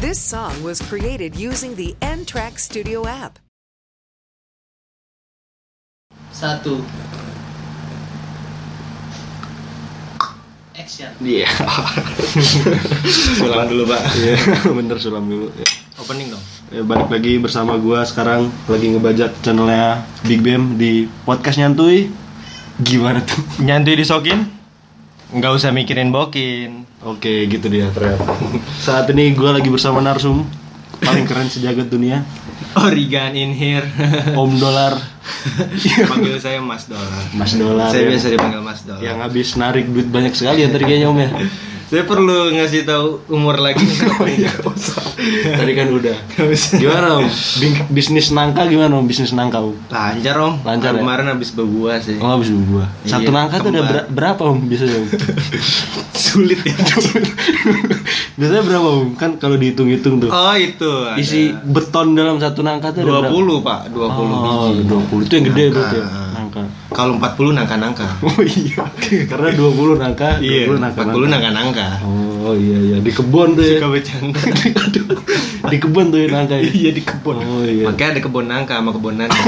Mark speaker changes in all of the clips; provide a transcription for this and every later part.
Speaker 1: This song was created using the N-Track Studio app.
Speaker 2: Satu. Action.
Speaker 3: Iya.
Speaker 4: Sulam dulu, Pak.
Speaker 3: Iya, bener sulam dulu. Ya.
Speaker 4: Opening dong.
Speaker 3: Ya, balik lagi bersama gua sekarang lagi ngebajak channelnya Big Bam di podcast nyantui. Gimana tuh?
Speaker 4: Nyantui disokin? Nggak usah mikirin bokin.
Speaker 3: Oke, gitu dia ternyata. Saat ini gua lagi bersama narsum paling keren sejagat dunia,
Speaker 4: Origan in here.
Speaker 3: Om Dolar,
Speaker 4: Panggil saya Mas Dolar.
Speaker 3: Mas Iya, Dolar. ya.
Speaker 4: Saya
Speaker 3: yang-
Speaker 4: biasa dipanggil Mas Dolar.
Speaker 3: yang habis narik duit banyak sekali ya tadi kayaknya Om ya.
Speaker 4: Saya perlu ngasih tahu umur lagi. Nggak usah.
Speaker 3: Tadi kan udah.
Speaker 4: Nggak usah.
Speaker 3: Oh, iya. Gimana Om? Bing- Bisnis nangka gimana Om? Bisnis nangka Om?
Speaker 4: Lancar om.
Speaker 3: Lancar, ya?
Speaker 4: Kemarin habis berbuah sih.
Speaker 3: Oh, habis gua. Satu
Speaker 4: Iya,
Speaker 3: nangka tuh udah
Speaker 4: kembar.
Speaker 3: ber- berapa Om biasanya Om?
Speaker 4: Sulit ya.
Speaker 3: Biasanya berapa Om? Kan kalau dihitung-hitung tuh.
Speaker 4: oh itu. ada.
Speaker 3: Isi beton dalam satu nangka tuh ada berapa?
Speaker 4: 20 pak. 20
Speaker 3: Oh,
Speaker 4: biji.
Speaker 3: 20 itu yang gede
Speaker 4: Nangka.
Speaker 3: berarti ya? Nangka.
Speaker 4: Kalau 40 nangka-nangka.
Speaker 3: Oh iya. Karena 20 nangka, 20
Speaker 4: Iya. 40
Speaker 3: nangka.
Speaker 4: nangka-nangka.
Speaker 3: Oh iya iya di kebun tuh ya.
Speaker 4: Suka bercanda.
Speaker 3: Di kebun tuh ya nangka. ya?
Speaker 4: Iya di kebun.
Speaker 3: Oh iya. Oh,
Speaker 4: Makanya ada kebun nangka sama kebun nangka.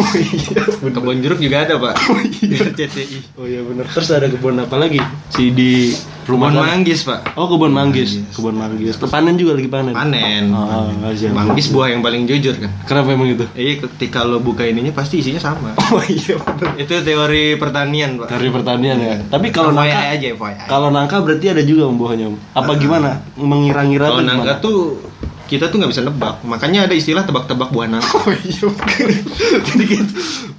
Speaker 4: Kebun jeruk juga ada pak. Di RCTI.
Speaker 3: Oh iya benar. Terus ada kebun apa lagi? Si di rumah
Speaker 4: Kebun
Speaker 3: sana.
Speaker 4: manggis pak.
Speaker 3: Oh kebun manggis, kebun manggis. Panen juga lagi panen.
Speaker 4: Panen.
Speaker 3: Oh, siap.
Speaker 4: Manggis buah yang paling jujur kan.
Speaker 3: Kenapa emang itu?
Speaker 4: Iya ketika lo buka ininya pasti isinya sama.
Speaker 3: Oh iya.
Speaker 4: Itu teori pertanian pak.
Speaker 3: Dari pertanian ya. Tapi kalau
Speaker 4: FYI
Speaker 3: nangka
Speaker 4: aja FYI.
Speaker 3: kalau nangka berarti ada juga om buahnya om. Apa gimana? Mengira-ngira
Speaker 4: Kalau
Speaker 3: tuh
Speaker 4: nangka
Speaker 3: gimana?
Speaker 4: tuh kita tuh nggak bisa nebak. Makanya ada istilah tebak-tebak buah nangka.
Speaker 3: Oh iya.
Speaker 4: Jadi gitu.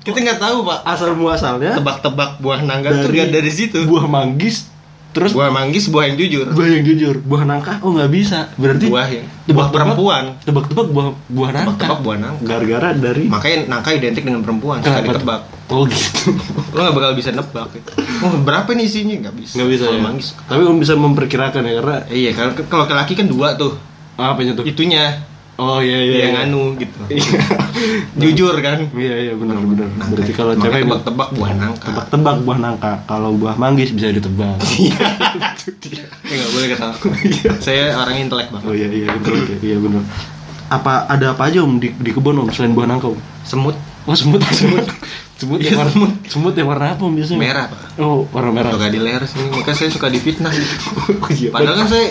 Speaker 4: Kita nggak tahu pak.
Speaker 3: Asal muasalnya
Speaker 4: Tebak-tebak buah nangka tuh
Speaker 3: Dari-
Speaker 4: lihat dari situ.
Speaker 3: buah manggis terus buah,
Speaker 4: Buah manggis buah yang jujur.
Speaker 3: yang jujur buah nangka oh nggak bisa berarti
Speaker 4: Buah yang buah
Speaker 3: tebak-tebak-
Speaker 4: perempuan.
Speaker 3: tebak-tebak buah buah nangka
Speaker 4: Tebak-tebak buah nangka.
Speaker 3: gara-gara dari
Speaker 4: Makanya nangka identik dengan perempuan, suka
Speaker 3: Kenapa?
Speaker 4: ditebak.
Speaker 3: oh gitu
Speaker 4: Lo gak bakal bisa nebak. ya. Oh, berapa nih isinya? Gak bisa.
Speaker 3: nggak bisa
Speaker 4: Kalau
Speaker 3: ya
Speaker 4: manggis.
Speaker 3: tapi om bisa memperkirakan ya karena
Speaker 4: Eh, Iya, kalau kalau laki kan dua tuh.
Speaker 3: ah, apanya tuh
Speaker 4: Itunya
Speaker 3: oh iya iya
Speaker 4: yang
Speaker 3: iya.
Speaker 4: anu gitu.
Speaker 3: Iya.
Speaker 4: Jujur kan?
Speaker 3: iya iya benar benar
Speaker 4: Nangka.
Speaker 3: berarti kalau
Speaker 4: Makanya
Speaker 3: cewek nggak-
Speaker 4: tebak-tebak buah nangka.
Speaker 3: tebak-tebak buah nangka kalau buah manggis bisa ditebak
Speaker 4: Iya. Eh, gak boleh ketawa. Saya orang intelek banget.
Speaker 3: oh iya iya benar iya, iya benar apa ada apa aja om di, di kebun om selain buah nangka om
Speaker 4: Semut
Speaker 3: oh semut semut semut
Speaker 4: Iya,
Speaker 3: yang warna
Speaker 4: semut.
Speaker 3: semut yang warna apa om biasanya
Speaker 4: merah, Pak.
Speaker 3: oh warna merah
Speaker 4: Suka di leher sini, makanya saya suka difitnah.
Speaker 3: Oh, iya.
Speaker 4: Padahal kan saya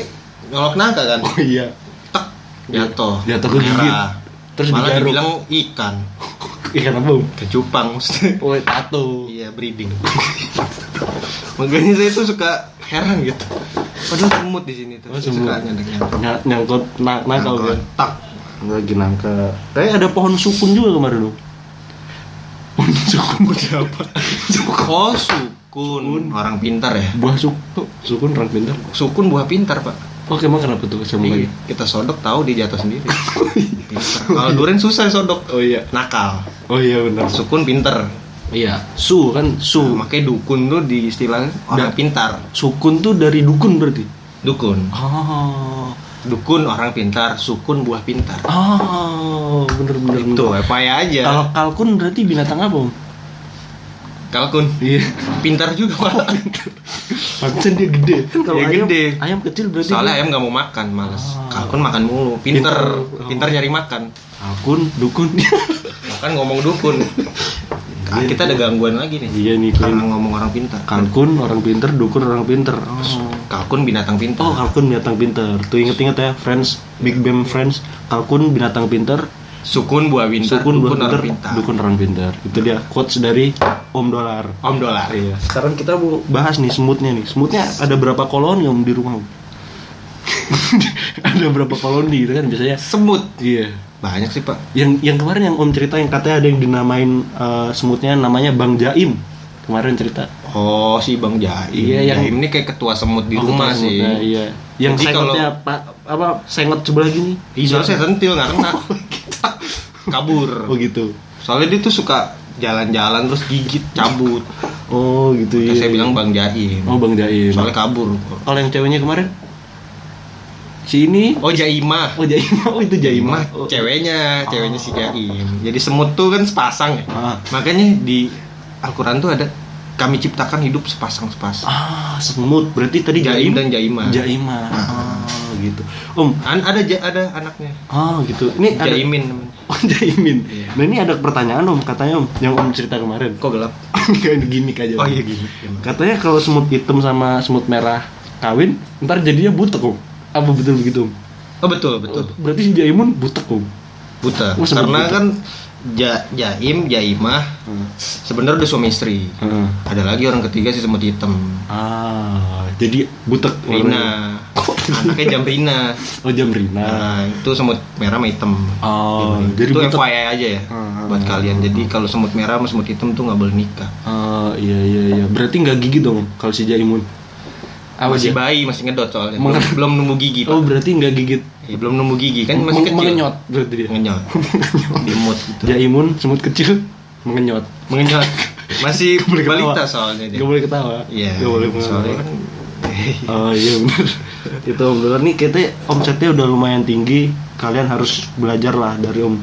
Speaker 4: ngolok nangka kan.
Speaker 3: Oh iya.
Speaker 4: Tek, jatuh.
Speaker 3: Jatuh ke gigit.
Speaker 4: Oh, Merah.
Speaker 3: Terus
Speaker 4: Malah
Speaker 3: digaruk.
Speaker 4: dibilang ikan.
Speaker 3: Ikan apa? Om?
Speaker 4: Kecupang maksudnya.
Speaker 3: Oh, tato.
Speaker 4: Iya breeding. Makanya saya tuh suka heran gitu. Padahal semut di sini tuh.
Speaker 3: Oh,
Speaker 4: Saya
Speaker 3: semut.
Speaker 4: suka nyadek-nyadek.
Speaker 3: Ny- nyangkut na nakal kan.
Speaker 4: Tak.
Speaker 3: Lagi nangka. Kayak Eh, ada pohon sukun juga kemarin lo. Pohon sukun udah apa?
Speaker 4: Oh sukun. Orang pintar ya.
Speaker 3: Buah suk sukun orang pintar. Oh,
Speaker 4: Sukun buah pintar pak.
Speaker 3: Oke, emang kenapa tuh sama
Speaker 4: Jadi
Speaker 3: lagi?
Speaker 4: kita sodok tahu dia jatuh sendiri. Pintar. Kalau durian susah sodok.
Speaker 3: iya. Oh iya.
Speaker 4: Nakal.
Speaker 3: Oh iya benar.
Speaker 4: Sukun pintar.
Speaker 3: Iya, su kan su.
Speaker 4: Nah, makanya dukun tuh di istilah orang
Speaker 3: Dan-
Speaker 4: pintar.
Speaker 3: Sukun tuh dari dukun berarti.
Speaker 4: Dukun.
Speaker 3: Oh.
Speaker 4: Dukun orang pintar. Sukun buah pintar.
Speaker 3: Oh, bener bener. bener.
Speaker 4: Itu apa ya aja.
Speaker 3: Kalau kalkun berarti binatang apa, Om?
Speaker 4: Kalkun.
Speaker 3: Iya.
Speaker 4: Pintar juga pak.
Speaker 3: Pantesan dia gede. Kan kalau
Speaker 4: Dia
Speaker 3: ayam,
Speaker 4: gede.
Speaker 3: ayam kecil berarti
Speaker 4: Soalnya
Speaker 3: dia-
Speaker 4: ayam gak mau makan, males.
Speaker 3: Ah.
Speaker 4: Kalkun makan mulu, pinter,
Speaker 3: Pinter.
Speaker 4: pinter, nyari makan.
Speaker 3: Akun, dukun.
Speaker 4: Makan ngomong dukun. Ah, kita ada gangguan lagi nih.
Speaker 3: iya nih
Speaker 4: Karena
Speaker 3: Kun.
Speaker 4: ngomong orang pintar.
Speaker 3: Kalkun orang pinter, dukun orang pinter.
Speaker 4: Kalkun binatang pintar.
Speaker 3: Oh, kalkun binatang pinter. Tuh inget-inget ya, friends, Big Bam friends. Kalkun binatang pinter,
Speaker 4: Sukun buah pintar, dukun
Speaker 3: sukun buah
Speaker 4: orang
Speaker 3: pinter,
Speaker 4: pintar.
Speaker 3: dukun orang pinter. Itu dia quotes dari Om Dolar.
Speaker 4: Om dolar.
Speaker 3: Iya. Sekarang kita mau bahas nih semutnya nih. Semutnya ada berapa koloni Om di rumah? Om? ada berapa koloni gitu kan biasanya?
Speaker 4: Semut.
Speaker 3: Iya.
Speaker 4: Banyak sih pak.
Speaker 3: Yang yang kemarin yang Om cerita yang katanya ada yang dinamain eh, semutnya namanya Bang Jaim. Kemarin cerita.
Speaker 4: Oh si Bang Jaim.
Speaker 3: Iya, yang-
Speaker 4: Jaim ini kayak ketua semut di
Speaker 3: Oh,
Speaker 4: rumah
Speaker 3: ketua
Speaker 4: sih.
Speaker 3: semutnya, Iya. Yang
Speaker 4: Jadi
Speaker 3: sengotnya
Speaker 4: kalau-
Speaker 3: Pak apa sengot sebelah gini?
Speaker 4: Iya, soalnya saya sentil nggak kena. Kabur.
Speaker 3: gitu. Oh gitu.
Speaker 4: Soalnya dia tuh suka jalan-jalan terus gigit, cabut.
Speaker 3: Oh gitu
Speaker 4: Nah,
Speaker 3: iya.
Speaker 4: saya bilang Bang Jaim.
Speaker 3: Oh Bang Jaim.
Speaker 4: Soalnya kabur.
Speaker 3: Kalau yang ceweknya kemarin si ini
Speaker 4: Oh Jaimah.
Speaker 3: Oh Jaim, oh itu Jaim.
Speaker 4: Jaimah
Speaker 3: Oh.
Speaker 4: ceweknya, ceweknya si Jaim. Jadi semut tuh kan sepasang ya.
Speaker 3: Ah.
Speaker 4: Makanya di Al-Qur'an tuh ada kami ciptakan hidup sepasang-sepasang.
Speaker 3: Ah, semut. Berarti tadi
Speaker 4: Jaim
Speaker 3: Jaim
Speaker 4: dan Jaimah.
Speaker 3: Jaimah.
Speaker 4: Ah.
Speaker 3: Ah,
Speaker 4: gitu om
Speaker 3: An- ada ja- ada anaknya
Speaker 4: ah gitu ini ada
Speaker 3: Jaimin namanya
Speaker 4: oh Jaimin
Speaker 3: Iya.
Speaker 4: nah ini ada pertanyaan om katanya om yang om cerita kemarin
Speaker 3: kok gelap
Speaker 4: Enggak, ini gimmick aja.
Speaker 3: Oh,
Speaker 4: Om.
Speaker 3: iya, gimmick.
Speaker 4: Katanya kalau semut hitam sama semut merah kawin, ntar jadinya butek, Om. Apa betul begitu, Om?
Speaker 3: oh betul betul
Speaker 4: Berarti si Jaimun butek, Om.
Speaker 3: buta
Speaker 4: Oh, sebelum
Speaker 3: karena
Speaker 4: buta.
Speaker 3: kan ja- jaim jaimah
Speaker 4: Hmm.
Speaker 3: sebenarnya udah suami istri
Speaker 4: Heeh.
Speaker 3: ada lagi orang ketiga si semut hitam
Speaker 4: Ah, jadi butek warnanya.
Speaker 3: Rina anaknya jam Rina
Speaker 4: Oh, jam Rina.
Speaker 3: nah itu semut merah sama hitam
Speaker 4: Oh,
Speaker 3: Gitu.
Speaker 4: jadi
Speaker 3: itu
Speaker 4: butek.
Speaker 3: FYI aja ya
Speaker 4: Hmm.
Speaker 3: buat kalian jadi kalau semut merah sama semut hitam tuh nggak boleh nikah
Speaker 4: Ah, iya iya iya. Berarti nggak gigi dong Om, kalau si Jaimun. Apa
Speaker 3: masih
Speaker 4: dia?
Speaker 3: bayi masih ngedot soalnya belum,
Speaker 4: Meng-
Speaker 3: belum numbuh gigi Pak.
Speaker 4: Oh, berarti nggak gigit.
Speaker 3: Ya, belum numbuh gigi kan masih
Speaker 4: Meng-
Speaker 3: kecil
Speaker 4: mengenyot berarti dia.
Speaker 3: mengenyot dimut gitu
Speaker 4: Jaimun semut kecil mengenyot.
Speaker 3: mengenyot masih
Speaker 4: Boleh ketawa.
Speaker 3: balita soalnya dia
Speaker 4: Nggak boleh ketawa.
Speaker 3: iya
Speaker 4: Nggak boleh
Speaker 3: soalnya
Speaker 4: mengenyot.
Speaker 3: kan
Speaker 4: Oh iya benar. itu om Dolar nih kita omsetnya udah lumayan tinggi. Kalian harus belajar lah dari om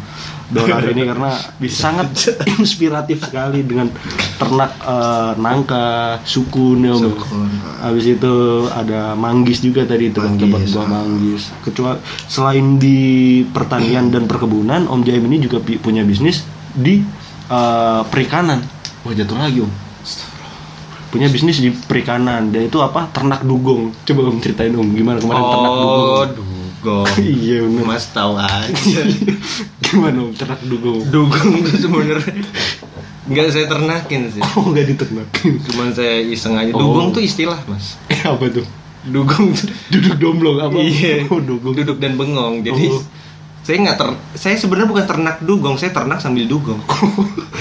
Speaker 4: Dolar ini karena sangat inspiratif sekali dengan ternak eh, nangka, sukun ya om.
Speaker 3: Sukun.
Speaker 4: Habis itu ada manggis juga tadi itu Om,
Speaker 3: Manggis,
Speaker 4: tempat buah
Speaker 3: ah.
Speaker 4: manggis. Kecuali selain di pertanian dan perkebunan, Om Jaim ini juga pi- punya bisnis di eh, perikanan. Wah jatuh lagi om punya bisnis di perikanan dan itu apa ternak dugong coba om ceritain om gimana kemarin ternak dugong
Speaker 3: oh
Speaker 4: Om?
Speaker 3: dugong
Speaker 4: Iya, bener.
Speaker 3: mas tahu aja
Speaker 4: gimana om ternak dugong
Speaker 3: dugong tuh sebenarnya nggak saya ternakin sih
Speaker 4: oh nggak diternakin
Speaker 3: cuman saya iseng aja
Speaker 4: Oh.
Speaker 3: dugong tuh istilah mas
Speaker 4: Eh, apa tuh
Speaker 3: dugong tuh
Speaker 4: duduk domblong apa
Speaker 3: iya
Speaker 4: oh, dugong
Speaker 3: duduk dan bengong jadi
Speaker 4: Oh.
Speaker 3: saya nggak ter saya sebenarnya bukan ternak dugong saya ternak sambil dugong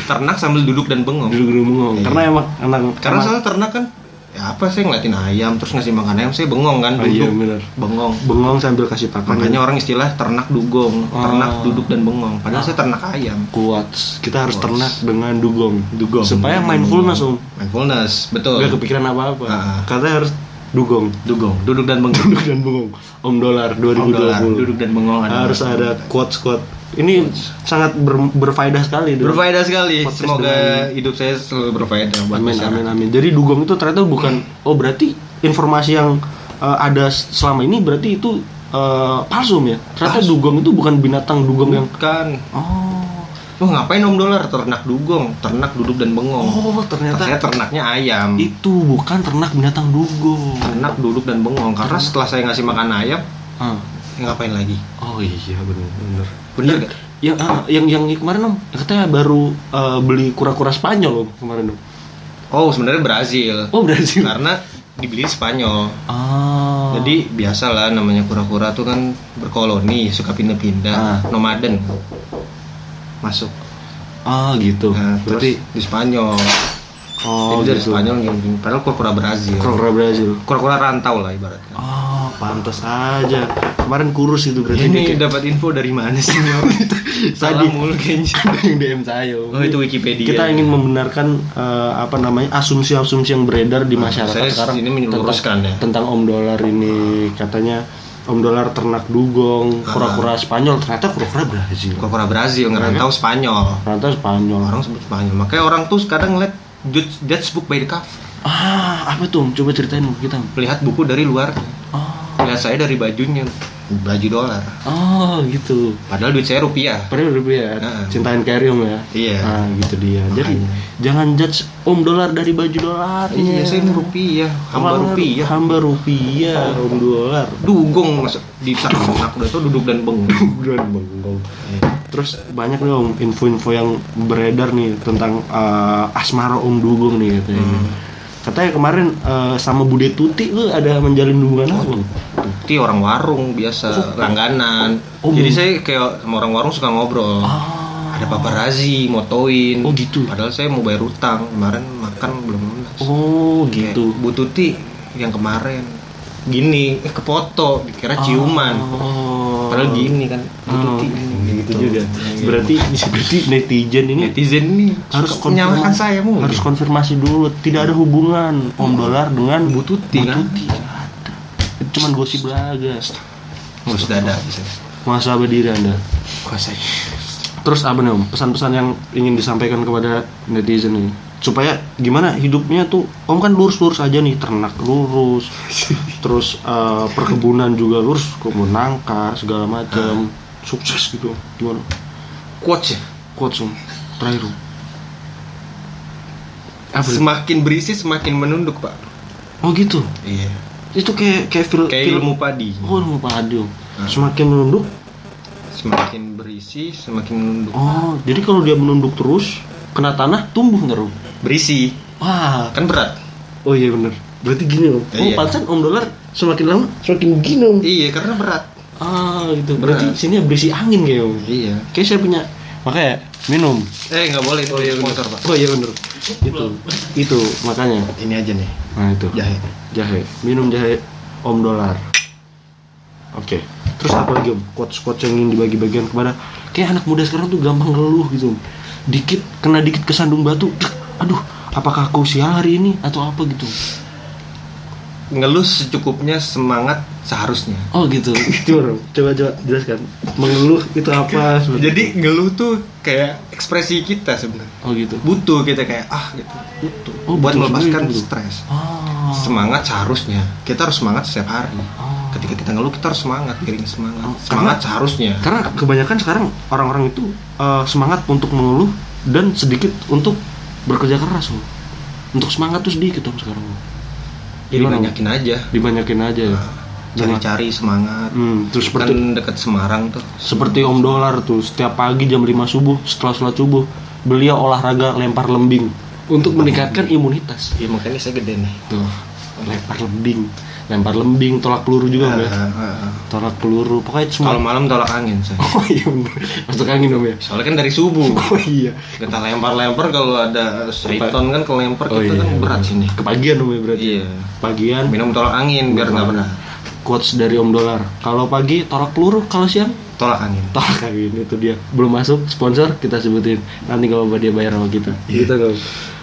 Speaker 3: ternak sambil duduk dan bengong
Speaker 4: duduk domblong
Speaker 3: Iya.
Speaker 4: karena emang anak
Speaker 3: Karena
Speaker 4: emang-
Speaker 3: soalnya ternak kan ya apa saya ngeliatin ayam terus ngasih makan ayam saya bengong kan
Speaker 4: Oh,
Speaker 3: duduk
Speaker 4: iya, bener.
Speaker 3: bengong
Speaker 4: bengong sambil kasih pakan
Speaker 3: makanya orang istilah ternak dugong
Speaker 4: Oh.
Speaker 3: ternak duduk dan bengong padahal saya ternak ayam
Speaker 4: kuat kita harus
Speaker 3: Kuat.
Speaker 4: ternak dengan dugong
Speaker 3: Dugong.
Speaker 4: supaya mindfulness om
Speaker 3: mindfulness betul
Speaker 4: nggak kepikiran apa apa
Speaker 3: Ah.
Speaker 4: katanya harus dugong
Speaker 3: dugong duduk dan bengong
Speaker 4: duduk dan bengong om dolar 2020
Speaker 3: Om dolar, duduk dan bengong adalah-
Speaker 4: harus ada quotes quotes ini sangat ber- berfaedah sekali Dok.
Speaker 3: berfaedah sekali
Speaker 4: Podcast
Speaker 3: semoga hidup saya selalu berfaedah buat
Speaker 4: amin
Speaker 3: masyarakat.
Speaker 4: amin amin jadi dugong itu ternyata bukan oh berarti informasi yang eh, ada selama ini berarti itu eh, palsu Om, ya ternyata dugong itu bukan binatang dugong yang
Speaker 3: bukan
Speaker 4: oh
Speaker 3: Wah ngapain om dolar ternak dugong ternak duduk dan bengong
Speaker 4: oh
Speaker 3: saya
Speaker 4: ternyata
Speaker 3: ternaknya ayam
Speaker 4: itu bukan ternak binatang dugong
Speaker 3: ternak duduk dan bengong karena setelah saya ngasih makan ayam
Speaker 4: Ah.
Speaker 3: ya ngapain lagi
Speaker 4: oh iya benar benar
Speaker 3: bener nggak?
Speaker 4: yang ah, yang yang kemarin om katanya baru eh, beli kura-kura Spanyol om kemarin om
Speaker 3: Oh, sebenarnya Brazil.
Speaker 4: oh berhasil
Speaker 3: Karena dibeli Spanyol.
Speaker 4: Ah.
Speaker 3: Nah. Jadi biasalah namanya kura-kura tuh kan berkoloni,
Speaker 4: Ah.
Speaker 3: suka pindah-pindah, nomaden. Masuk.
Speaker 4: ah gitu.
Speaker 3: Nah,
Speaker 4: Berarti
Speaker 3: terus di Spanyol.
Speaker 4: oh
Speaker 3: Jadi dari
Speaker 4: gitu.
Speaker 3: Spanyol gini, padahal kura-kura Brazil.
Speaker 4: Kura-kura Brazil.
Speaker 3: Kura-kura rantau lah ibaratnya.
Speaker 4: Oh, pantas aja. Kemarin kurus itu berarti
Speaker 3: Ini
Speaker 4: dia
Speaker 3: dapat info dari mana sih ini orang? Salah
Speaker 4: Tadi.
Speaker 3: mulu kayaknya.
Speaker 4: kayak- yang DM saya. Om.
Speaker 3: Oh, itu Wikipedia.
Speaker 4: Kita ingin membenarkan eh, apa namanya asumsi-asumsi yang beredar di masyarakat
Speaker 3: Ah, saya
Speaker 4: sekarang.
Speaker 3: sini meluruskan
Speaker 4: tentang,
Speaker 3: ya.
Speaker 4: Tentang Om Dolar ini katanya Om Dolar ternak dugong,
Speaker 3: Ah.
Speaker 4: kura-kura Spanyol ternyata kura-kura Brazil.
Speaker 3: Kura-kura Brazil ngerantau
Speaker 4: Iya kan?
Speaker 3: Spanyol.
Speaker 4: Ternyata Spanyol.
Speaker 3: Orang sebut Spanyol. Makanya orang tuh kadang ngeliat judge, judge book by the cover.
Speaker 4: Ah, apa tuh? Om? Coba ceritain Om, kita. Om.
Speaker 3: Melihat buku dari luar.
Speaker 4: Oh,
Speaker 3: Lihat saya dari bajunya, baju dolar.
Speaker 4: oh gitu.
Speaker 3: Padahal duit saya rupiah.
Speaker 4: Padahal udah ya,
Speaker 3: Nah.
Speaker 4: cintain carry om ya.
Speaker 3: Iya.
Speaker 4: Nah, gitu dia. Jadi
Speaker 3: Makanya.
Speaker 4: jangan judge om dolar dari baju dolarnya.
Speaker 3: Iya, saya rupiah, hamba
Speaker 4: Hamba-
Speaker 3: rupiah.
Speaker 4: Hamba rupiah, om dolar.
Speaker 3: Dugong masuk di ternak udah tuh duduk dan bengong. Eh,
Speaker 4: Bukan bengong. Terus banyak nih om info-info yang beredar nih tentang eh, asmara om dugong nih katanya.
Speaker 3: Hmm.
Speaker 4: Katanya kemarin eh, sama Bude Tuti lu ada menjalin hubungan apa?
Speaker 3: Bukti orang warung biasa langganan.
Speaker 4: Oh, Ah.
Speaker 3: Jadi
Speaker 4: belum.
Speaker 3: saya kayak sama orang warung suka ngobrol. Ada paparazi motoin.
Speaker 4: Oh, gitu.
Speaker 3: Padahal saya mau bayar utang kemarin makan belum lunas.
Speaker 4: Oh gitu.
Speaker 3: Kayak, Bu Tuti yang kemarin gini eh, kepoto dikira ciuman.
Speaker 4: Oh.
Speaker 3: Padahal gini kan Bu
Speaker 4: Oh,
Speaker 3: Tuti
Speaker 4: gitu, juga. Berarti berarti netizen ini
Speaker 3: Iya. netizen nih
Speaker 4: harus
Speaker 3: harus menyalahkan
Speaker 4: konfirmasi-
Speaker 3: saya mungkin.
Speaker 4: Harus konfirmasi dulu. Tidak ada hubungan Om Dolar dengan
Speaker 3: Bu Tuti, kan?
Speaker 4: Tuti. Nggak ada. Itu Cuman gosip belaga.
Speaker 3: ngurus dada bisa
Speaker 4: Masa apa diri Anda?
Speaker 3: kuasai
Speaker 4: Terus apa nih Om? Pesan-pesan yang ingin disampaikan kepada netizen ini? supaya gimana hidupnya tuh om kan lurus-lurus aja nih ternak lurus terus eh, perkebunan juga lurus kebun nangka segala macam sukses gitu gimana
Speaker 3: Quotes ya?
Speaker 4: kuat Om. terakhir Om. Apa itu?
Speaker 3: Semakin berisi semakin menunduk pak
Speaker 4: oh gitu
Speaker 3: Iya
Speaker 4: itu kayak kayak fil-
Speaker 3: Kayak
Speaker 4: film
Speaker 3: ilmu padi
Speaker 4: oh ilmu padi Om.
Speaker 3: Ah.
Speaker 4: semakin menunduk
Speaker 3: Semakin berisi semakin menunduk
Speaker 4: oh jadi kalau dia menunduk terus kena tanah tumbuh nggak Om?
Speaker 3: Berisi
Speaker 4: wah
Speaker 3: Kan berat
Speaker 4: oh iya bener berarti gini om oh
Speaker 3: Iya.
Speaker 4: pantesan om dolar semakin lama semakin gini om
Speaker 3: Iya karena berat
Speaker 4: ah gitu berarti
Speaker 3: Berat.
Speaker 4: sini berisi angin kayak om
Speaker 3: Iya
Speaker 4: kayak saya punya makanya minum
Speaker 3: Eh nggak boleh itu sponsor pak
Speaker 4: oh iya bener itu itu makanya
Speaker 3: Ini aja nih
Speaker 4: nah itu
Speaker 3: Jahe
Speaker 4: jahe minum jahe om dolar oke terus apa lagi om quotes quotes yang ingin dibagi-bagian kepada kayak anak muda sekarang tuh gampang ngeluh gitu om dikit kena dikit kesandung batu aduh apakah aku sial hari ini atau apa gitu
Speaker 3: Ngeluh secukupnya semangat seharusnya
Speaker 4: Oh gitu. Coba coba, coba jelaskan. Mengeluh itu apa sebenarnya?
Speaker 3: Jadi ngeluh tuh kayak ekspresi kita sebenarnya
Speaker 4: oh gitu.
Speaker 3: Butuh kita kayak ah gitu Butuh
Speaker 4: Oh,
Speaker 3: Buat
Speaker 4: butuh sebenarnya
Speaker 3: melepaskan
Speaker 4: butuh.
Speaker 3: stres
Speaker 4: Ah.
Speaker 3: semangat seharusnya kita harus semangat setiap hari
Speaker 4: Oh.
Speaker 3: ketika kita ngeluh kita harus semangat piring semangat
Speaker 4: Oh,
Speaker 3: semangat
Speaker 4: karena-
Speaker 3: seharusnya
Speaker 4: Karena kebanyakan sekarang orang-orang itu eh, semangat untuk mengeluh dan sedikit untuk bekerja keras. Om. Untuk semangat tuh sedikit dong sekarang. Om. Gimana,
Speaker 3: jadi
Speaker 4: Om?
Speaker 3: banyakin aja
Speaker 4: Dibanyakin aja ya.
Speaker 3: cari-cari semangat
Speaker 4: Hmm, terus seperti
Speaker 3: kan dekat Semarang tuh
Speaker 4: seperti Om Dolar tuh setiap pagi jam 5 subuh setelah sholat subuh beliau olahraga lempar lembing untuk meningkatkan imunitas.
Speaker 3: ya makanya saya gede nih
Speaker 4: Tuh, lempar lembing, lempar lembing, tolak peluru juga om ya.
Speaker 3: Ah, ah, ah.
Speaker 4: Tolak peluru, pokoknya semua.
Speaker 3: kalau malam tolak angin saya
Speaker 4: Oh iya bener, masuk angin om ya.
Speaker 3: soalnya kan dari subuh
Speaker 4: Oh iya.
Speaker 3: kita lempar-lempar kalau ada syaiton kan kelempar
Speaker 4: Oh,
Speaker 3: kita
Speaker 4: iya,
Speaker 3: kan berat
Speaker 4: bener.
Speaker 3: sini
Speaker 4: Kepagian om ya berarti.
Speaker 3: iya
Speaker 4: Pagian.
Speaker 3: minum tolak angin biar nggak benar
Speaker 4: Quotes dari Om Dolar. Kalau pagi tolak peluru, kalau siang
Speaker 3: tolak angin
Speaker 4: tolak angin itu dia. Belum masuk sponsor kita sebutin. Nanti kalau dia bayar sama kita.
Speaker 3: Iya.
Speaker 4: Gitu Om.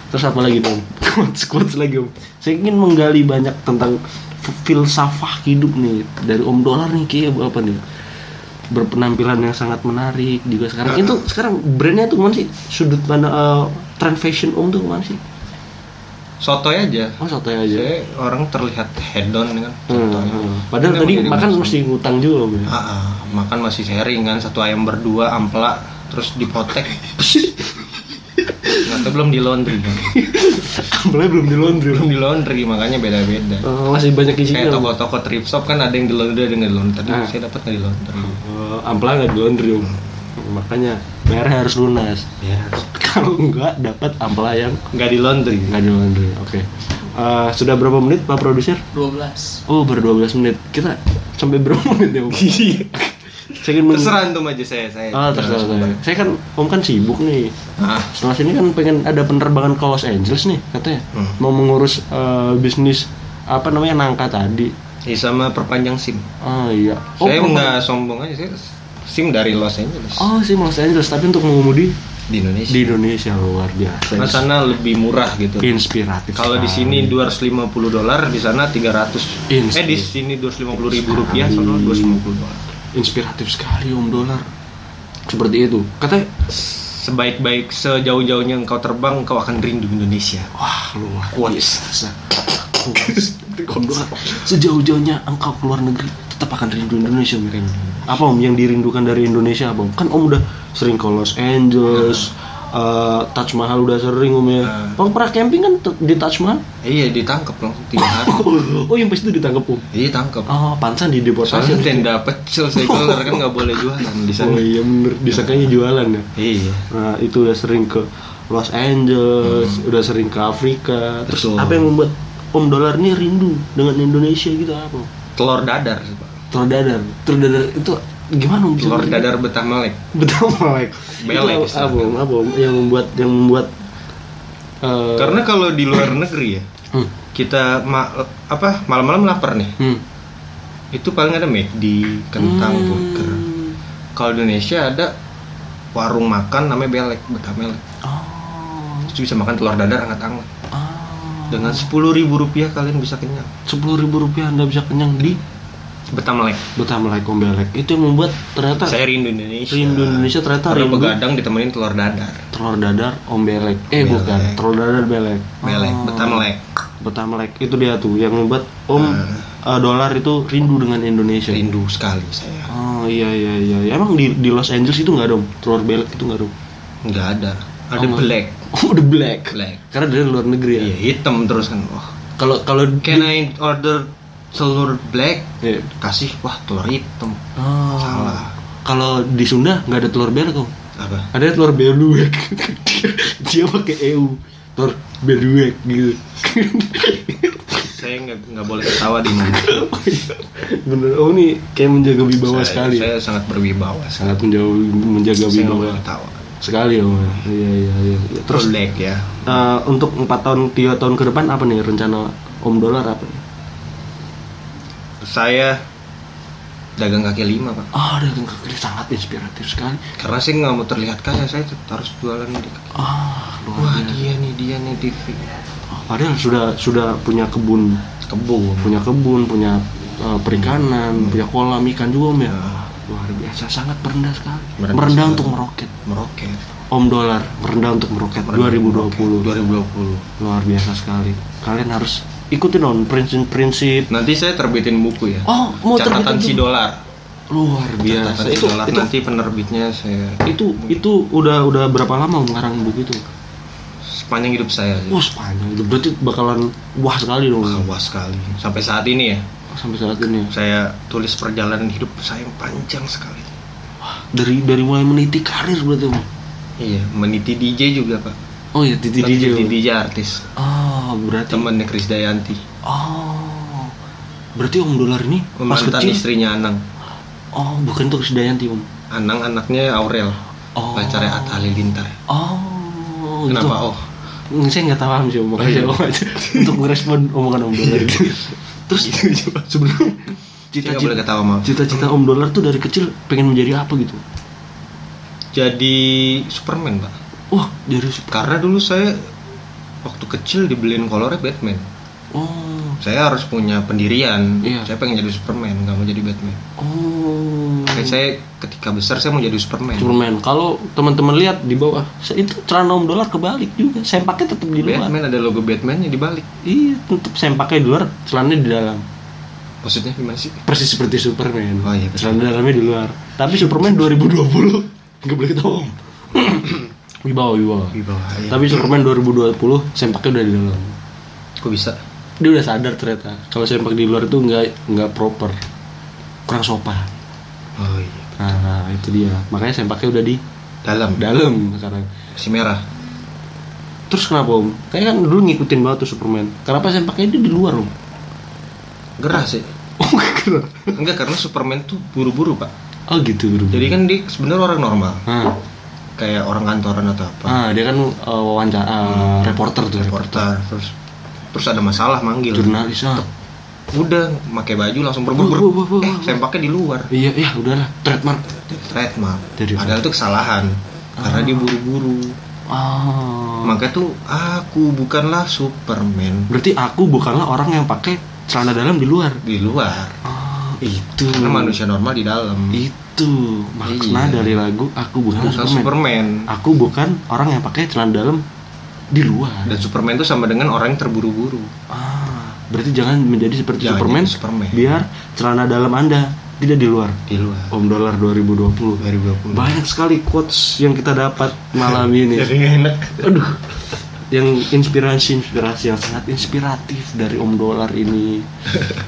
Speaker 4: Terus apa lagi om? Quotes quotes lagi om. Saya ingin menggali banyak tentang f- filsafah hidup nih dari Om Dolar nih kayak apa nih? berpenampilan yang sangat menarik juga sekarang itu sekarang brandnya tuh kemana sih sudut pandang eh, trend fashion om tuh kemana sih
Speaker 3: sotoy aja
Speaker 4: oh sotoy aja
Speaker 3: saya orang terlihat head on kan
Speaker 4: Hmm,
Speaker 3: sotoy.
Speaker 4: hmm. padahal
Speaker 3: Ini
Speaker 4: tadi
Speaker 3: mau jadi
Speaker 4: makan
Speaker 3: masalah.
Speaker 4: mesti ngutang juga om ya
Speaker 3: Ah, ah, makan masih sharing kan satu ayam berdua ampela terus dipotek. Nggak tahu belum di laundry. kan?
Speaker 4: Belum belum di laundry
Speaker 3: Belum di laundry makanya beda-beda.
Speaker 4: Eh, masih banyak isinya
Speaker 3: Kayak
Speaker 4: om
Speaker 3: toko-toko thrift shop kan ada yang di laundry ada yang nggak di laundry. Tadi
Speaker 4: Ah.
Speaker 3: saya dapat nggak di laundry.
Speaker 4: Eh, ampla nggak di laundry om makanya bayarnya harus lunas
Speaker 3: Ya.
Speaker 4: kalau enggak dapat ampla yang
Speaker 3: Nggak di laundry.
Speaker 4: nggak di laundry oke Eh, sudah berapa menit pak produser
Speaker 2: 12
Speaker 4: oh baru 12 menit kita sampai berapa menit ya om saya ingin meng-
Speaker 3: Iya. Terserah antum aja saya saya.
Speaker 4: Hmm. Ah, terserah saya. Saya kan om kan sibuk nih.
Speaker 3: Ah,
Speaker 4: Setelah sini kan pengen ada penerbangan ke Los Angeles nih katanya.
Speaker 3: Hmm.
Speaker 4: Mau mengurus eh, bisnis apa namanya nangka tadi.
Speaker 3: ya sama perpanjang SIM.
Speaker 4: Ah iya.
Speaker 3: saya
Speaker 4: penerbangan-
Speaker 3: nggak sombong aja saya SIM dari Los Angeles
Speaker 4: Oh sih Los Angeles tapi untuk mengemudi
Speaker 3: di Indonesia.
Speaker 4: di Indonesia luar biasa.
Speaker 3: Karena sana lebih murah gitu.
Speaker 4: Inspiratif.
Speaker 3: Kalau di
Speaker 4: sekali.
Speaker 3: sini 250 dolar, di sana 300.
Speaker 4: Ins-
Speaker 3: Eh di sini 250 ribu rupiah, sono
Speaker 4: Hmm.
Speaker 3: 250 dolar.
Speaker 4: inspiratif sekali om dolar. Seperti itu. Katanya
Speaker 3: Sebaik-baik sejauh-jauhnya engkau terbang, kau akan rindu Indonesia.
Speaker 4: wah luar
Speaker 3: Quotes.
Speaker 4: biasa. Quotes. Om Dolar, sejauh-jauhnya engkau keluar negeri tetap akan rindu Indonesia Om. apa om yang dirindukan dari Indonesia apa om kan om udah sering ke Los Angeles eh,
Speaker 3: Iya.
Speaker 4: Taj Mahal udah sering om ya
Speaker 3: Nah.
Speaker 4: om pernah camping kan t- di Taj Mahal
Speaker 3: Eh, iya ditangkap langsung tiga hari.
Speaker 4: oh yang pas itu ditangkap om
Speaker 3: Iya tangkap.
Speaker 4: oh pansan di deportasi
Speaker 3: Soalnya tenda pecel sekuler kan nggak boleh jualan di sana.
Speaker 4: oh iya bener disangkanya jualan ya
Speaker 3: Iya.
Speaker 4: nah itu udah sering ke Los Angeles udah sering ke Afrika terus
Speaker 3: Hmm. Betul.
Speaker 4: apa yang membuat om dolar ini rindu dengan Indonesia gitu apa Om?
Speaker 3: Telur dadar, Pak.
Speaker 4: telur dadar telur dadar itu gimana om bisa
Speaker 3: telur
Speaker 4: bikin?
Speaker 3: dadar betah melek.
Speaker 4: betul melek
Speaker 3: Melek,
Speaker 4: Itu apa Om? apa Om? yang membuat yang membuat eh,
Speaker 3: Karena kalau di luar negeri ya,
Speaker 4: hmm,
Speaker 3: kita ma- apa malam-malam lapar nih.
Speaker 4: hmm.
Speaker 3: Itu paling ada McD, kentang,
Speaker 4: Hmm.
Speaker 3: burger. Kalau di Indonesia ada warung makan namanya belek, betah melek.
Speaker 4: oh
Speaker 3: Terus bisa makan telur dadar hangat-hangat.
Speaker 4: ah
Speaker 3: Dengan sepuluh ribu rupiah kalian bisa kenyang.
Speaker 4: sepuluh ribu rupiah anda bisa kenyang di
Speaker 3: Betah melek.
Speaker 4: betah melek ombelek itu yang membuat ternyata
Speaker 3: Saya rindu Indonesia.
Speaker 4: rindu Indonesia ternyata
Speaker 3: Karena
Speaker 4: rindu
Speaker 3: begadang ditemenin telur dadar.
Speaker 4: telur dadar ombelek eh
Speaker 5: Belek.
Speaker 4: bukan telur dadar belek
Speaker 3: Melek,
Speaker 4: Oh.
Speaker 3: betah melek.
Speaker 4: betah melek itu dia tuh yang membuat om eh, dolar itu rindu dengan Indonesia
Speaker 5: rindu sekali saya
Speaker 4: oh iya iya iya emang di, di Los Angeles itu nggak dong telur belek itu nggak dong
Speaker 3: Nggak ada. Ada
Speaker 4: Oh,
Speaker 3: black.
Speaker 4: oh the black
Speaker 3: Black.
Speaker 4: karena dari luar negeri ya
Speaker 3: Iya, hitam terus kan. Wah.
Speaker 4: kalau kalau
Speaker 3: Can I order telur black?
Speaker 4: Iya.
Speaker 3: Kasih, wah telur hitam.
Speaker 4: Oh.
Speaker 3: Salah.
Speaker 4: kalau di Sunda nggak ada telur belek om
Speaker 3: Apa?
Speaker 4: ada telur beluwek dia pakai EU telur beluwek gitu
Speaker 3: Saya nggak nggak boleh ketawa di mana.
Speaker 4: bener oh ini kayak menjaga wibawa
Speaker 3: Saya-
Speaker 4: sekali ya.
Speaker 3: Saya sangat berwibawa. Saya
Speaker 4: sangat menjauh menjaga
Speaker 3: nggak
Speaker 4: wibawa
Speaker 3: boleh ketawa.
Speaker 4: sekali om iya iya iya
Speaker 3: Terus
Speaker 4: terus
Speaker 3: black ya.
Speaker 4: eh, untuk empat tahun tiga tahun ke depan apa nih rencana om dolar apa nih
Speaker 3: Saya dagang kaki lima pak.
Speaker 4: ah dagang kaki sangat inspiratif sekali
Speaker 3: Karena saya nggak mau terlihat kaya, saya tetap harus jualan di kaki.
Speaker 4: ah
Speaker 3: Wah
Speaker 4: luar biasa
Speaker 3: dia nih dia nih TV.
Speaker 4: Ah, padahal sudah sudah punya kebun
Speaker 3: Kebun.
Speaker 4: punya kebun, punya eh, perikanan, punya kolam ikan juga om ya.
Speaker 3: Ya.
Speaker 4: Luar biasa, sangat merendah sekali.
Speaker 3: Merendah
Speaker 4: Merendah,
Speaker 3: sekali.
Speaker 4: untuk meroket.
Speaker 3: Meroket.
Speaker 4: Om dolar, merendah untuk meroket
Speaker 3: Meroket.
Speaker 4: 2020.
Speaker 3: 2020.
Speaker 4: Luar biasa sekali. Kalian harus ikutin on prinsip-prinsip.
Speaker 3: Nanti saya terbitin buku ya.
Speaker 4: Oh, mau
Speaker 3: catatan
Speaker 4: terbitin
Speaker 3: si
Speaker 4: buku?
Speaker 3: dolar.
Speaker 4: Luar biasa.
Speaker 3: Catatan si
Speaker 4: Itu
Speaker 3: dolar
Speaker 4: itu,
Speaker 3: nanti penerbitnya saya
Speaker 4: itu itu udah udah berapa lama om ngarang buku itu?
Speaker 3: sepanjang hidup saya.
Speaker 4: Wah, panjang. Itu berarti bakalan wah sekali dong
Speaker 3: Wah, wah sekali. Sampai saat ini ya,
Speaker 4: sampai saat ini.
Speaker 3: saya tulis perjalanan hidup saya yang panjang sekali.
Speaker 4: Dari dari mulai meniti karir berarti om.
Speaker 3: Iya, meniti DJ juga pak.
Speaker 4: Oh iya, titi
Speaker 3: Tapi
Speaker 4: DJ.
Speaker 3: Jadi
Speaker 4: Om.
Speaker 3: DJ artis.
Speaker 4: Oh, berarti
Speaker 3: Temennya Krisdayanti.
Speaker 4: Oh, berarti Om Dolar ini pas
Speaker 3: Mantan
Speaker 4: kecil?
Speaker 3: istrinya Anang.
Speaker 4: Oh, bukan tuh Krisdayanti Om.
Speaker 3: Anang anaknya Aurel.
Speaker 4: Oh.
Speaker 3: Pacarnya Atta Halilintar.
Speaker 4: Oh,
Speaker 3: Kenapa
Speaker 4: gitu.
Speaker 3: oh? iya.
Speaker 4: Hmm, Saya nggak paham sih Om, makanya Om aja untuk merespon omongan Om Dolar. itu. Terus
Speaker 3: Iya,
Speaker 4: sebenarnya
Speaker 3: Saya nggak boleh
Speaker 4: cita-cita
Speaker 3: ketawa maaf.
Speaker 4: cita-cita Om Dolar tuh dari kecil pengen menjadi apa gitu?
Speaker 3: Jadi Superman pak.
Speaker 4: Wah, dari super.
Speaker 3: Karena dulu saya waktu kecil dibeliin kolornya Batman.
Speaker 4: Oh,
Speaker 3: Saya harus punya pendirian.
Speaker 4: Iya.
Speaker 3: Saya pengen jadi Superman, nggak mau jadi Batman.
Speaker 4: oh.
Speaker 3: Kayak saya ketika besar saya mau jadi Superman.
Speaker 4: Superman. Kalau teman-teman lihat di bawah, itu celana Om Dolar kebalik juga. Sempaknya tetap di luar.
Speaker 3: Batman ada logo Batman-nya di balik.
Speaker 4: Iya, tetap sempaknya di luar, celananya di dalam.
Speaker 3: Maksudnya gimana sih?
Speaker 4: persis seperti Superman.
Speaker 3: Oh, iya, betul.
Speaker 4: Celana dalamnya di luar. Tapi Superman 2020 nggak boleh ketawa. wibawa, wibawa.
Speaker 3: Di bawah. Iya.
Speaker 4: Tapi Superman 2020 sempaknya udah di dalam.
Speaker 3: Kok bisa?
Speaker 4: Dia udah sadar ternyata kalau sempak di luar itu nggak nggak proper, kurang sopan.
Speaker 3: Oh iya.
Speaker 4: Nah, nah, itu dia. Makanya sempaknya udah di
Speaker 3: Dalam.
Speaker 4: dalam sekarang.
Speaker 3: Si merah.
Speaker 4: Terus kenapa om? Kayaknya kan dulu ngikutin banget tuh Superman. Kenapa sempaknya dia di luar om?
Speaker 3: Gerah sih.
Speaker 4: Oh, keren.
Speaker 3: Enggak karena Superman tuh buru-buru pak.
Speaker 4: oh gitu bro.
Speaker 3: Jadi kan dia sebenarnya orang normal.
Speaker 4: Nah,
Speaker 3: Kayak orang kantoran atau apa.
Speaker 4: ah, dia kan eh, wawancara eh, reporter tuh.
Speaker 3: Reporter. Terus terus ada masalah manggil.
Speaker 4: Jurnalis ah.
Speaker 3: Udah, pakai baju langsung
Speaker 4: Wuh, wuh, wuh,
Speaker 3: berburu.
Speaker 4: wuh, wuh.
Speaker 3: Eh, sempaknya di luar.
Speaker 4: Iya, iya, udahlah. Trademark.
Speaker 3: trademark
Speaker 4: Jadi Ah.
Speaker 3: padahal itu kesalahan karena dia buru-buru
Speaker 4: Oh.
Speaker 3: makanya tuh aku bukanlah Superman
Speaker 4: Berarti aku bukanlah orang yang pakai celana dalam di luar.
Speaker 3: di luar
Speaker 4: Oh, itu.
Speaker 3: karena manusia normal di dalam
Speaker 4: Itu makna
Speaker 3: Iya.
Speaker 4: dari lagu aku bukan
Speaker 3: bukan
Speaker 4: Iya, Superman.
Speaker 3: Superman
Speaker 4: Aku bukan orang yang pakai celana dalam di luar.
Speaker 3: dan Superman itu sama dengan orang yang terburu-buru
Speaker 4: Ah, berarti jangan menjadi seperti
Speaker 3: Jangan
Speaker 4: Superman,
Speaker 3: jadi Superman.
Speaker 4: Biar celana dalam Anda tidak di luar.
Speaker 3: di luar
Speaker 4: Om Dolar 2020.
Speaker 3: 2020
Speaker 4: Banyak sekali quotes yang kita dapat malam ini.
Speaker 3: jadi nggak enak
Speaker 4: aduh yang inspirasi inspirasi yang sangat inspiratif dari Om Dolar ini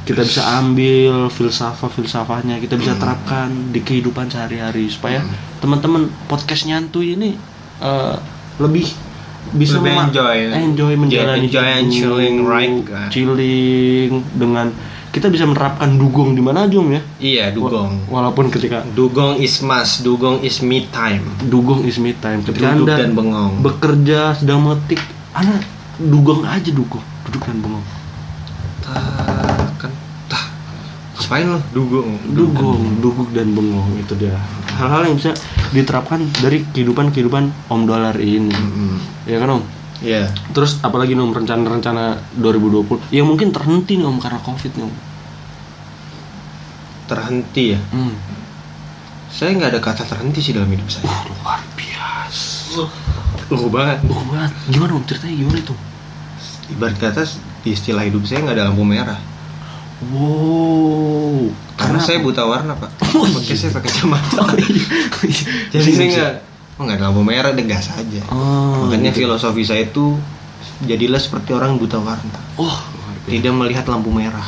Speaker 4: kita bisa ambil filsafah filsafahnya kita
Speaker 3: Hmm.
Speaker 4: bisa terapkan di kehidupan sehari-hari supaya teman-teman podcast nyantuy ini eh, lebih bisa
Speaker 3: Lebih
Speaker 4: mema-
Speaker 3: enjoy.
Speaker 4: enjoy menjalani
Speaker 3: Enjoy and
Speaker 4: hidup,
Speaker 3: chilling, right, kan? guys?
Speaker 4: chilling dengan kita bisa menerapkan dugong di mana aja om ya
Speaker 3: iya dugong
Speaker 4: Wa- walaupun ketika
Speaker 3: dugong is mas dugong is me time
Speaker 4: dugong is me time ketika
Speaker 3: Duduk
Speaker 4: Anda
Speaker 3: dan bengong.
Speaker 4: bekerja sedang metik Anda dugong aja dugong duduk dan bengong
Speaker 3: tak kan tah ngapain lo dugong
Speaker 4: dugong duguk dan bengong itu dia hal-hal yang bisa diterapkan dari kehidupan kehidupan om dolar ini
Speaker 3: Mm-mm.
Speaker 4: ya kan om
Speaker 3: iya
Speaker 4: terus apalagi nih, om Ya, rencana-rencana 2020 yang mungkin terhenti nih om karena covid nih om
Speaker 3: terhenti ya
Speaker 4: Hmm.
Speaker 3: saya nggak ada kata terhenti sih dalam hidup saya
Speaker 4: Luar biasa.
Speaker 3: lugu banget
Speaker 4: Lugu banget. Oh, Gimana om ceritanya gimana itu?
Speaker 3: ibarat kata di istilah hidup saya nggak ada lampu merah
Speaker 4: Wow.
Speaker 3: karena
Speaker 4: Kenapa?
Speaker 3: saya buta warna pak
Speaker 4: Oh, iya.
Speaker 3: Makanya saya pakai kacamata
Speaker 4: Oh, iya.
Speaker 3: jadi
Speaker 4: Bisa,
Speaker 3: saya
Speaker 4: bisa.
Speaker 3: nggak oh nggak ada lampu merah deh gas aja
Speaker 4: Oh,
Speaker 3: makanya
Speaker 4: gitu.
Speaker 3: filosofi saya itu jadilah seperti orang buta warna
Speaker 4: Oh,
Speaker 3: tidak melihat lampu merah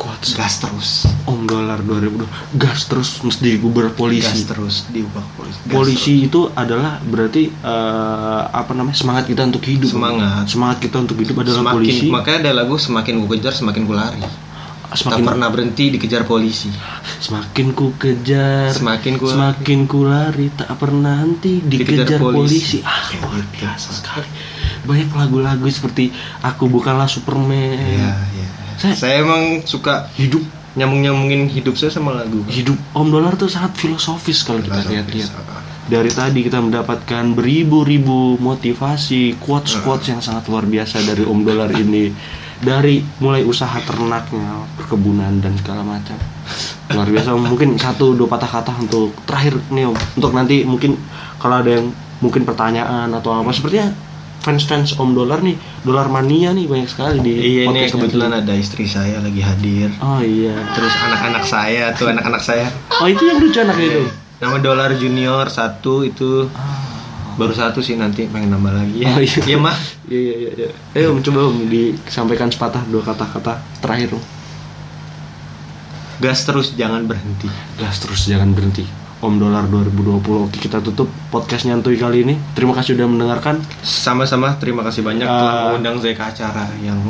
Speaker 4: kuat sekali.
Speaker 3: gas terus
Speaker 4: Om dolar 2002 gas terus mesti guber
Speaker 3: gas
Speaker 4: polisi.
Speaker 3: terus diubah polisi Gas
Speaker 4: Polisi itu adalah berarti eh, apa namanya semangat kita untuk hidup.
Speaker 3: Semangat.
Speaker 4: Semangat kita untuk hidup
Speaker 3: terus.
Speaker 4: adalah
Speaker 3: semakin
Speaker 4: polisi.
Speaker 3: makanya ada lagu semakin ku kejar semakin ku lari tak
Speaker 4: Semakin
Speaker 3: pernah berhenti dikejar polisi
Speaker 4: semakin ku kejar,
Speaker 3: Semakin ku-
Speaker 4: semakin ku lari, tak pernah henti dikejar,
Speaker 3: Dikejar
Speaker 4: polisi.
Speaker 3: polisi.
Speaker 4: Ah,
Speaker 3: Kayak
Speaker 4: luar
Speaker 3: gitu.
Speaker 4: biasa sekali. Banyak lagu-lagu seperti aku bukanlah Superman.
Speaker 3: Iya, iya.
Speaker 4: Saya-
Speaker 3: Saya, emang suka
Speaker 4: Hidup
Speaker 3: nyambung-nyambungin hidup saya sama lagu. Pak.
Speaker 4: hidup Om Dolar tuh sangat filosofis kalau kita
Speaker 3: Filosofis,
Speaker 4: lihat-lihat.
Speaker 3: ah.
Speaker 4: Dari tadi kita mendapatkan beribu-ribu motivasi, quotes-quotes yang sangat luar biasa dari Om Dolar ini. Dari mulai usaha ternaknya, perkebunan dan segala macam. Luar biasa. Om. Mungkin satu dua patah kata untuk terakhir nih Om. Untuk nanti mungkin kalau ada yang mungkin pertanyaan atau apa sepertinya fans-fans Om Dolar nih, Dolar mania nih banyak sekali di
Speaker 3: Iya ini
Speaker 4: podcastnya.
Speaker 3: kebetulan ada istri saya lagi hadir.
Speaker 4: Oh iya.
Speaker 3: Terus anak-anak saya tuh anak-anak saya.
Speaker 4: Oh itu yang lucu anaknya
Speaker 3: Iya,
Speaker 4: itu.
Speaker 3: Nama dolar junior satu itu baru satu sih nanti pengen nambah lagi
Speaker 4: Ah.
Speaker 3: ya.
Speaker 4: Oh, iya.
Speaker 3: Iya mah.
Speaker 4: Iya iya iya, iya. Eh om coba om disampaikan sepatah dua kata-kata terakhir om.
Speaker 3: Gas terus jangan berhenti.
Speaker 4: Gas terus jangan berhenti. Om Dolar 2020. Oke kita tutup podcast nyantui kali ini. Terima kasih sudah mendengarkan.
Speaker 3: Sama-sama terima kasih banyak telah
Speaker 4: Ah.
Speaker 3: mengundang saya ke acara yang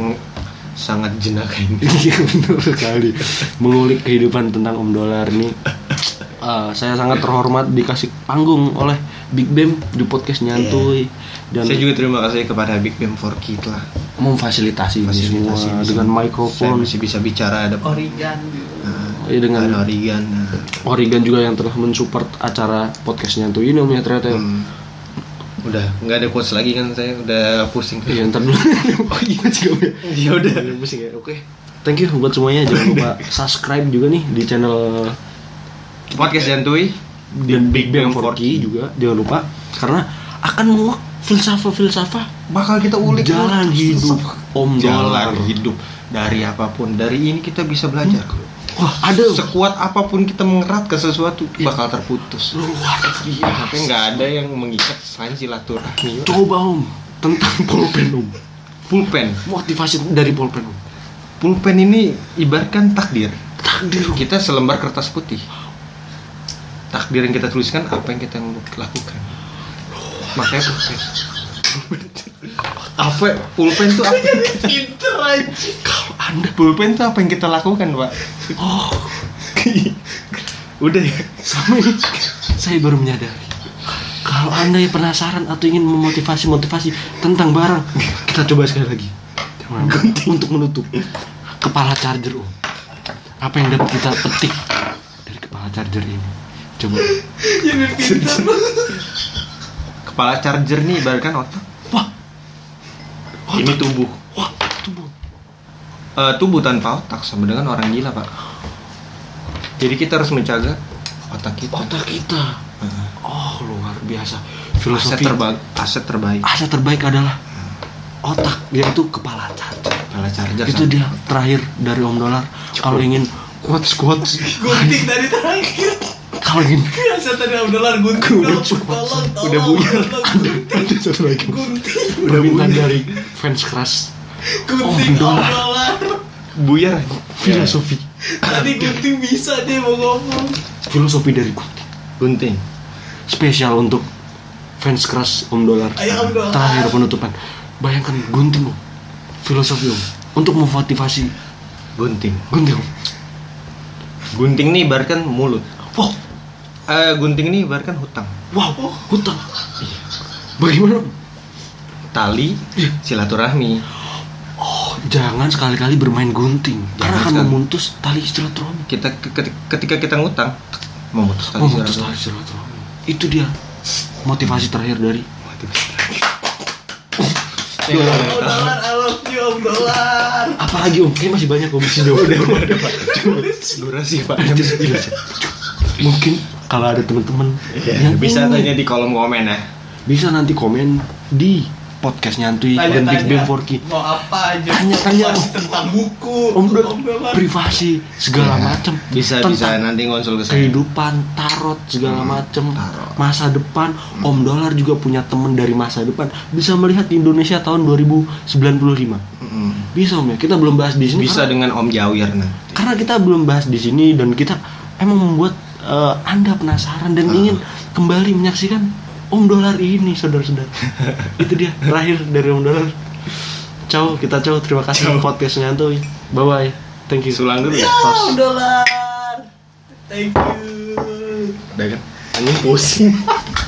Speaker 3: sangat jenaka ini.
Speaker 4: Iya benar sekali. Mengulik kehidupan tentang Om Dolar ini. Eh, saya sangat terhormat dikasih panggung oleh Big Bam di podcast nyantui dan
Speaker 3: Iya. Saya juga terima kasih kepada Big Bam for Kid lah.
Speaker 4: memfasilitasi ini semua
Speaker 3: Fasilitasi ini
Speaker 4: dengan
Speaker 3: semua. Saya
Speaker 4: mikrofon.
Speaker 3: masih bisa bicara ada Origan. Nah,
Speaker 4: Iya, dengan-
Speaker 3: ada Origan. Nah,
Speaker 4: Oregon juga yang telah mensupport acara podcast nyantui ini om ya ternyata. ya.
Speaker 3: hmm. Udah nggak ada quotes lagi kan saya udah pusing.
Speaker 4: Iya ntar dulu. oh iya juga.
Speaker 3: Ya udah pusing ya. Oke.
Speaker 4: Thank you buat semuanya. Jangan lupa subscribe juga nih di channel
Speaker 3: Podcast Jantui.
Speaker 4: dan Big Bang 4K
Speaker 3: Bang 4K.
Speaker 4: juga. Jangan lupa karena akan menguak filsafah-filsafah
Speaker 3: Bakal kita ulik
Speaker 4: jalan hidup Om Dolar.
Speaker 3: Jalan hidup dari apapun. Dari ini kita bisa belajar.
Speaker 4: Wah, ada
Speaker 3: Sekuat apapun kita mengerat ke sesuatu bakal terputus.
Speaker 4: luar
Speaker 3: Tapi
Speaker 4: biasa.
Speaker 3: nggak ada yang mengikat selain silaturahmi.
Speaker 4: Coba Om tentang pulpen Om.
Speaker 3: Pulpen.
Speaker 4: Motivasi dari pulpen Om.
Speaker 3: Pulpen ini ibaratkan takdir.
Speaker 4: Takdir Om.
Speaker 3: Kita selembar kertas putih. Takdir yang kita tuliskan apa yang kita lakukan. Makanya pulpen. apa pulpen tuh apa?
Speaker 4: Kalau Anda
Speaker 3: pulpen tuh apa yang kita lakukan, Pak?
Speaker 4: oh
Speaker 3: Udah ya.
Speaker 4: sama ini saya baru menyadari kalau anda yang penasaran atau ingin memotivasi motivasi tentang barang kita coba sekali lagi Jangan. untuk menutup kepala charger om apa yang dapat kita petik dari kepala charger ini coba
Speaker 3: Kepala charger nih ibaratkan otak.
Speaker 4: wah
Speaker 3: Ini tubuh.
Speaker 4: wah tubuh
Speaker 3: Eh, tubuh tanpa otak sama dengan orang gila, Pak. Jadi kita harus menjaga otak kita.
Speaker 4: otak kita oh luar biasa
Speaker 3: Aset
Speaker 4: filosofi
Speaker 3: terbaik, aset terbaik.
Speaker 4: aset terbaik adalah otak yaitu kepala charger
Speaker 3: Kepala charger.
Speaker 4: itu
Speaker 3: sama-
Speaker 4: dia terakhir dari Om Dolar kalau ingin quotes quotes
Speaker 2: Gunting dari terakhir.
Speaker 4: kalau ingin
Speaker 2: Saya tadi udah lar gunting.
Speaker 4: Udah
Speaker 2: Tolong,
Speaker 4: cukup.
Speaker 2: tolong,
Speaker 3: Udah
Speaker 2: tolong,
Speaker 3: buyar.
Speaker 2: tolong, Gunting,
Speaker 4: ada satu lagi
Speaker 2: gunting,
Speaker 4: permintaan dari fans keras
Speaker 2: gunting,
Speaker 4: Oh, dolar.
Speaker 2: dolar.
Speaker 3: buyar.
Speaker 4: filosofi
Speaker 2: Tadi gunting bisa dia mau ngomong.
Speaker 4: filosofi dari Gunting
Speaker 3: Gunting.
Speaker 4: spesial untuk fans keras Om Dolar
Speaker 2: Ayo, Om Dolar.
Speaker 4: terakhir penutupan bayangkan Gunting Om filosofi Om untuk memotivasi
Speaker 3: Gunting.
Speaker 4: Gunting Om
Speaker 3: Gunting nih ibaratkan mulut.
Speaker 4: wow
Speaker 3: Eh, gunting nih ibaratkan hutang.
Speaker 4: wow hutang bagaimana Om?
Speaker 3: Tali
Speaker 4: Iya.
Speaker 3: silaturahmi.
Speaker 4: oh, jangan sekali-kali bermain gunting karena akan
Speaker 3: sekali.
Speaker 4: memutus tali silaturahmi
Speaker 3: Kita ke- ke- ketika kita ngutang memutus tali
Speaker 4: memutus tali
Speaker 3: silaturahmi.
Speaker 4: silaturahmi itu dia motivasi terakhir dari
Speaker 3: Saya nggak
Speaker 2: Oh,
Speaker 3: tahu.
Speaker 2: dolar, halo, iya, Fuck you om dolar.
Speaker 4: Apalagi om, kayaknya masih banyak om di sini. Om. Cuma-
Speaker 3: durasi pak
Speaker 4: jam 11. Iya, Mungkin kalau ada teman-teman yang
Speaker 3: Iya, bisa
Speaker 4: ingin,
Speaker 3: tanya di kolom komen ya
Speaker 4: bisa nanti komen di podcast nyantui dan Big Bang Forky.
Speaker 2: Mau apa aja?
Speaker 4: Tanya-tanya.
Speaker 2: Pasti tentang buku.
Speaker 4: Om Dut,
Speaker 2: dolar.
Speaker 4: privasi segala macam.
Speaker 3: Iya. bisa bisa
Speaker 4: Tentang
Speaker 3: nanti konsul ke saya
Speaker 4: kehidupan tarot segala macem
Speaker 3: tarot.
Speaker 4: masa depan Om Dolar juga punya temen dari masa depan bisa melihat di Indonesia tahun 2095
Speaker 3: Mm-mm.
Speaker 4: bisa Om ya kita belum bahas di sini
Speaker 3: Mm. bisa
Speaker 4: karena,
Speaker 3: dengan Om Jawir nah
Speaker 4: karena kita belum bahas di sini dan kita emang membuat eh, anda penasaran dan ingin kembali menyaksikan Om Dolar ini saudara-saudara itu dia terakhir dari Om Dolar ciao kita ciao terima kasih podcast nyantui bye bye thank you
Speaker 3: sulang dulu ya
Speaker 4: Tos.
Speaker 2: Om dolar. Ah, Thank you.
Speaker 3: udah kan anjing pusing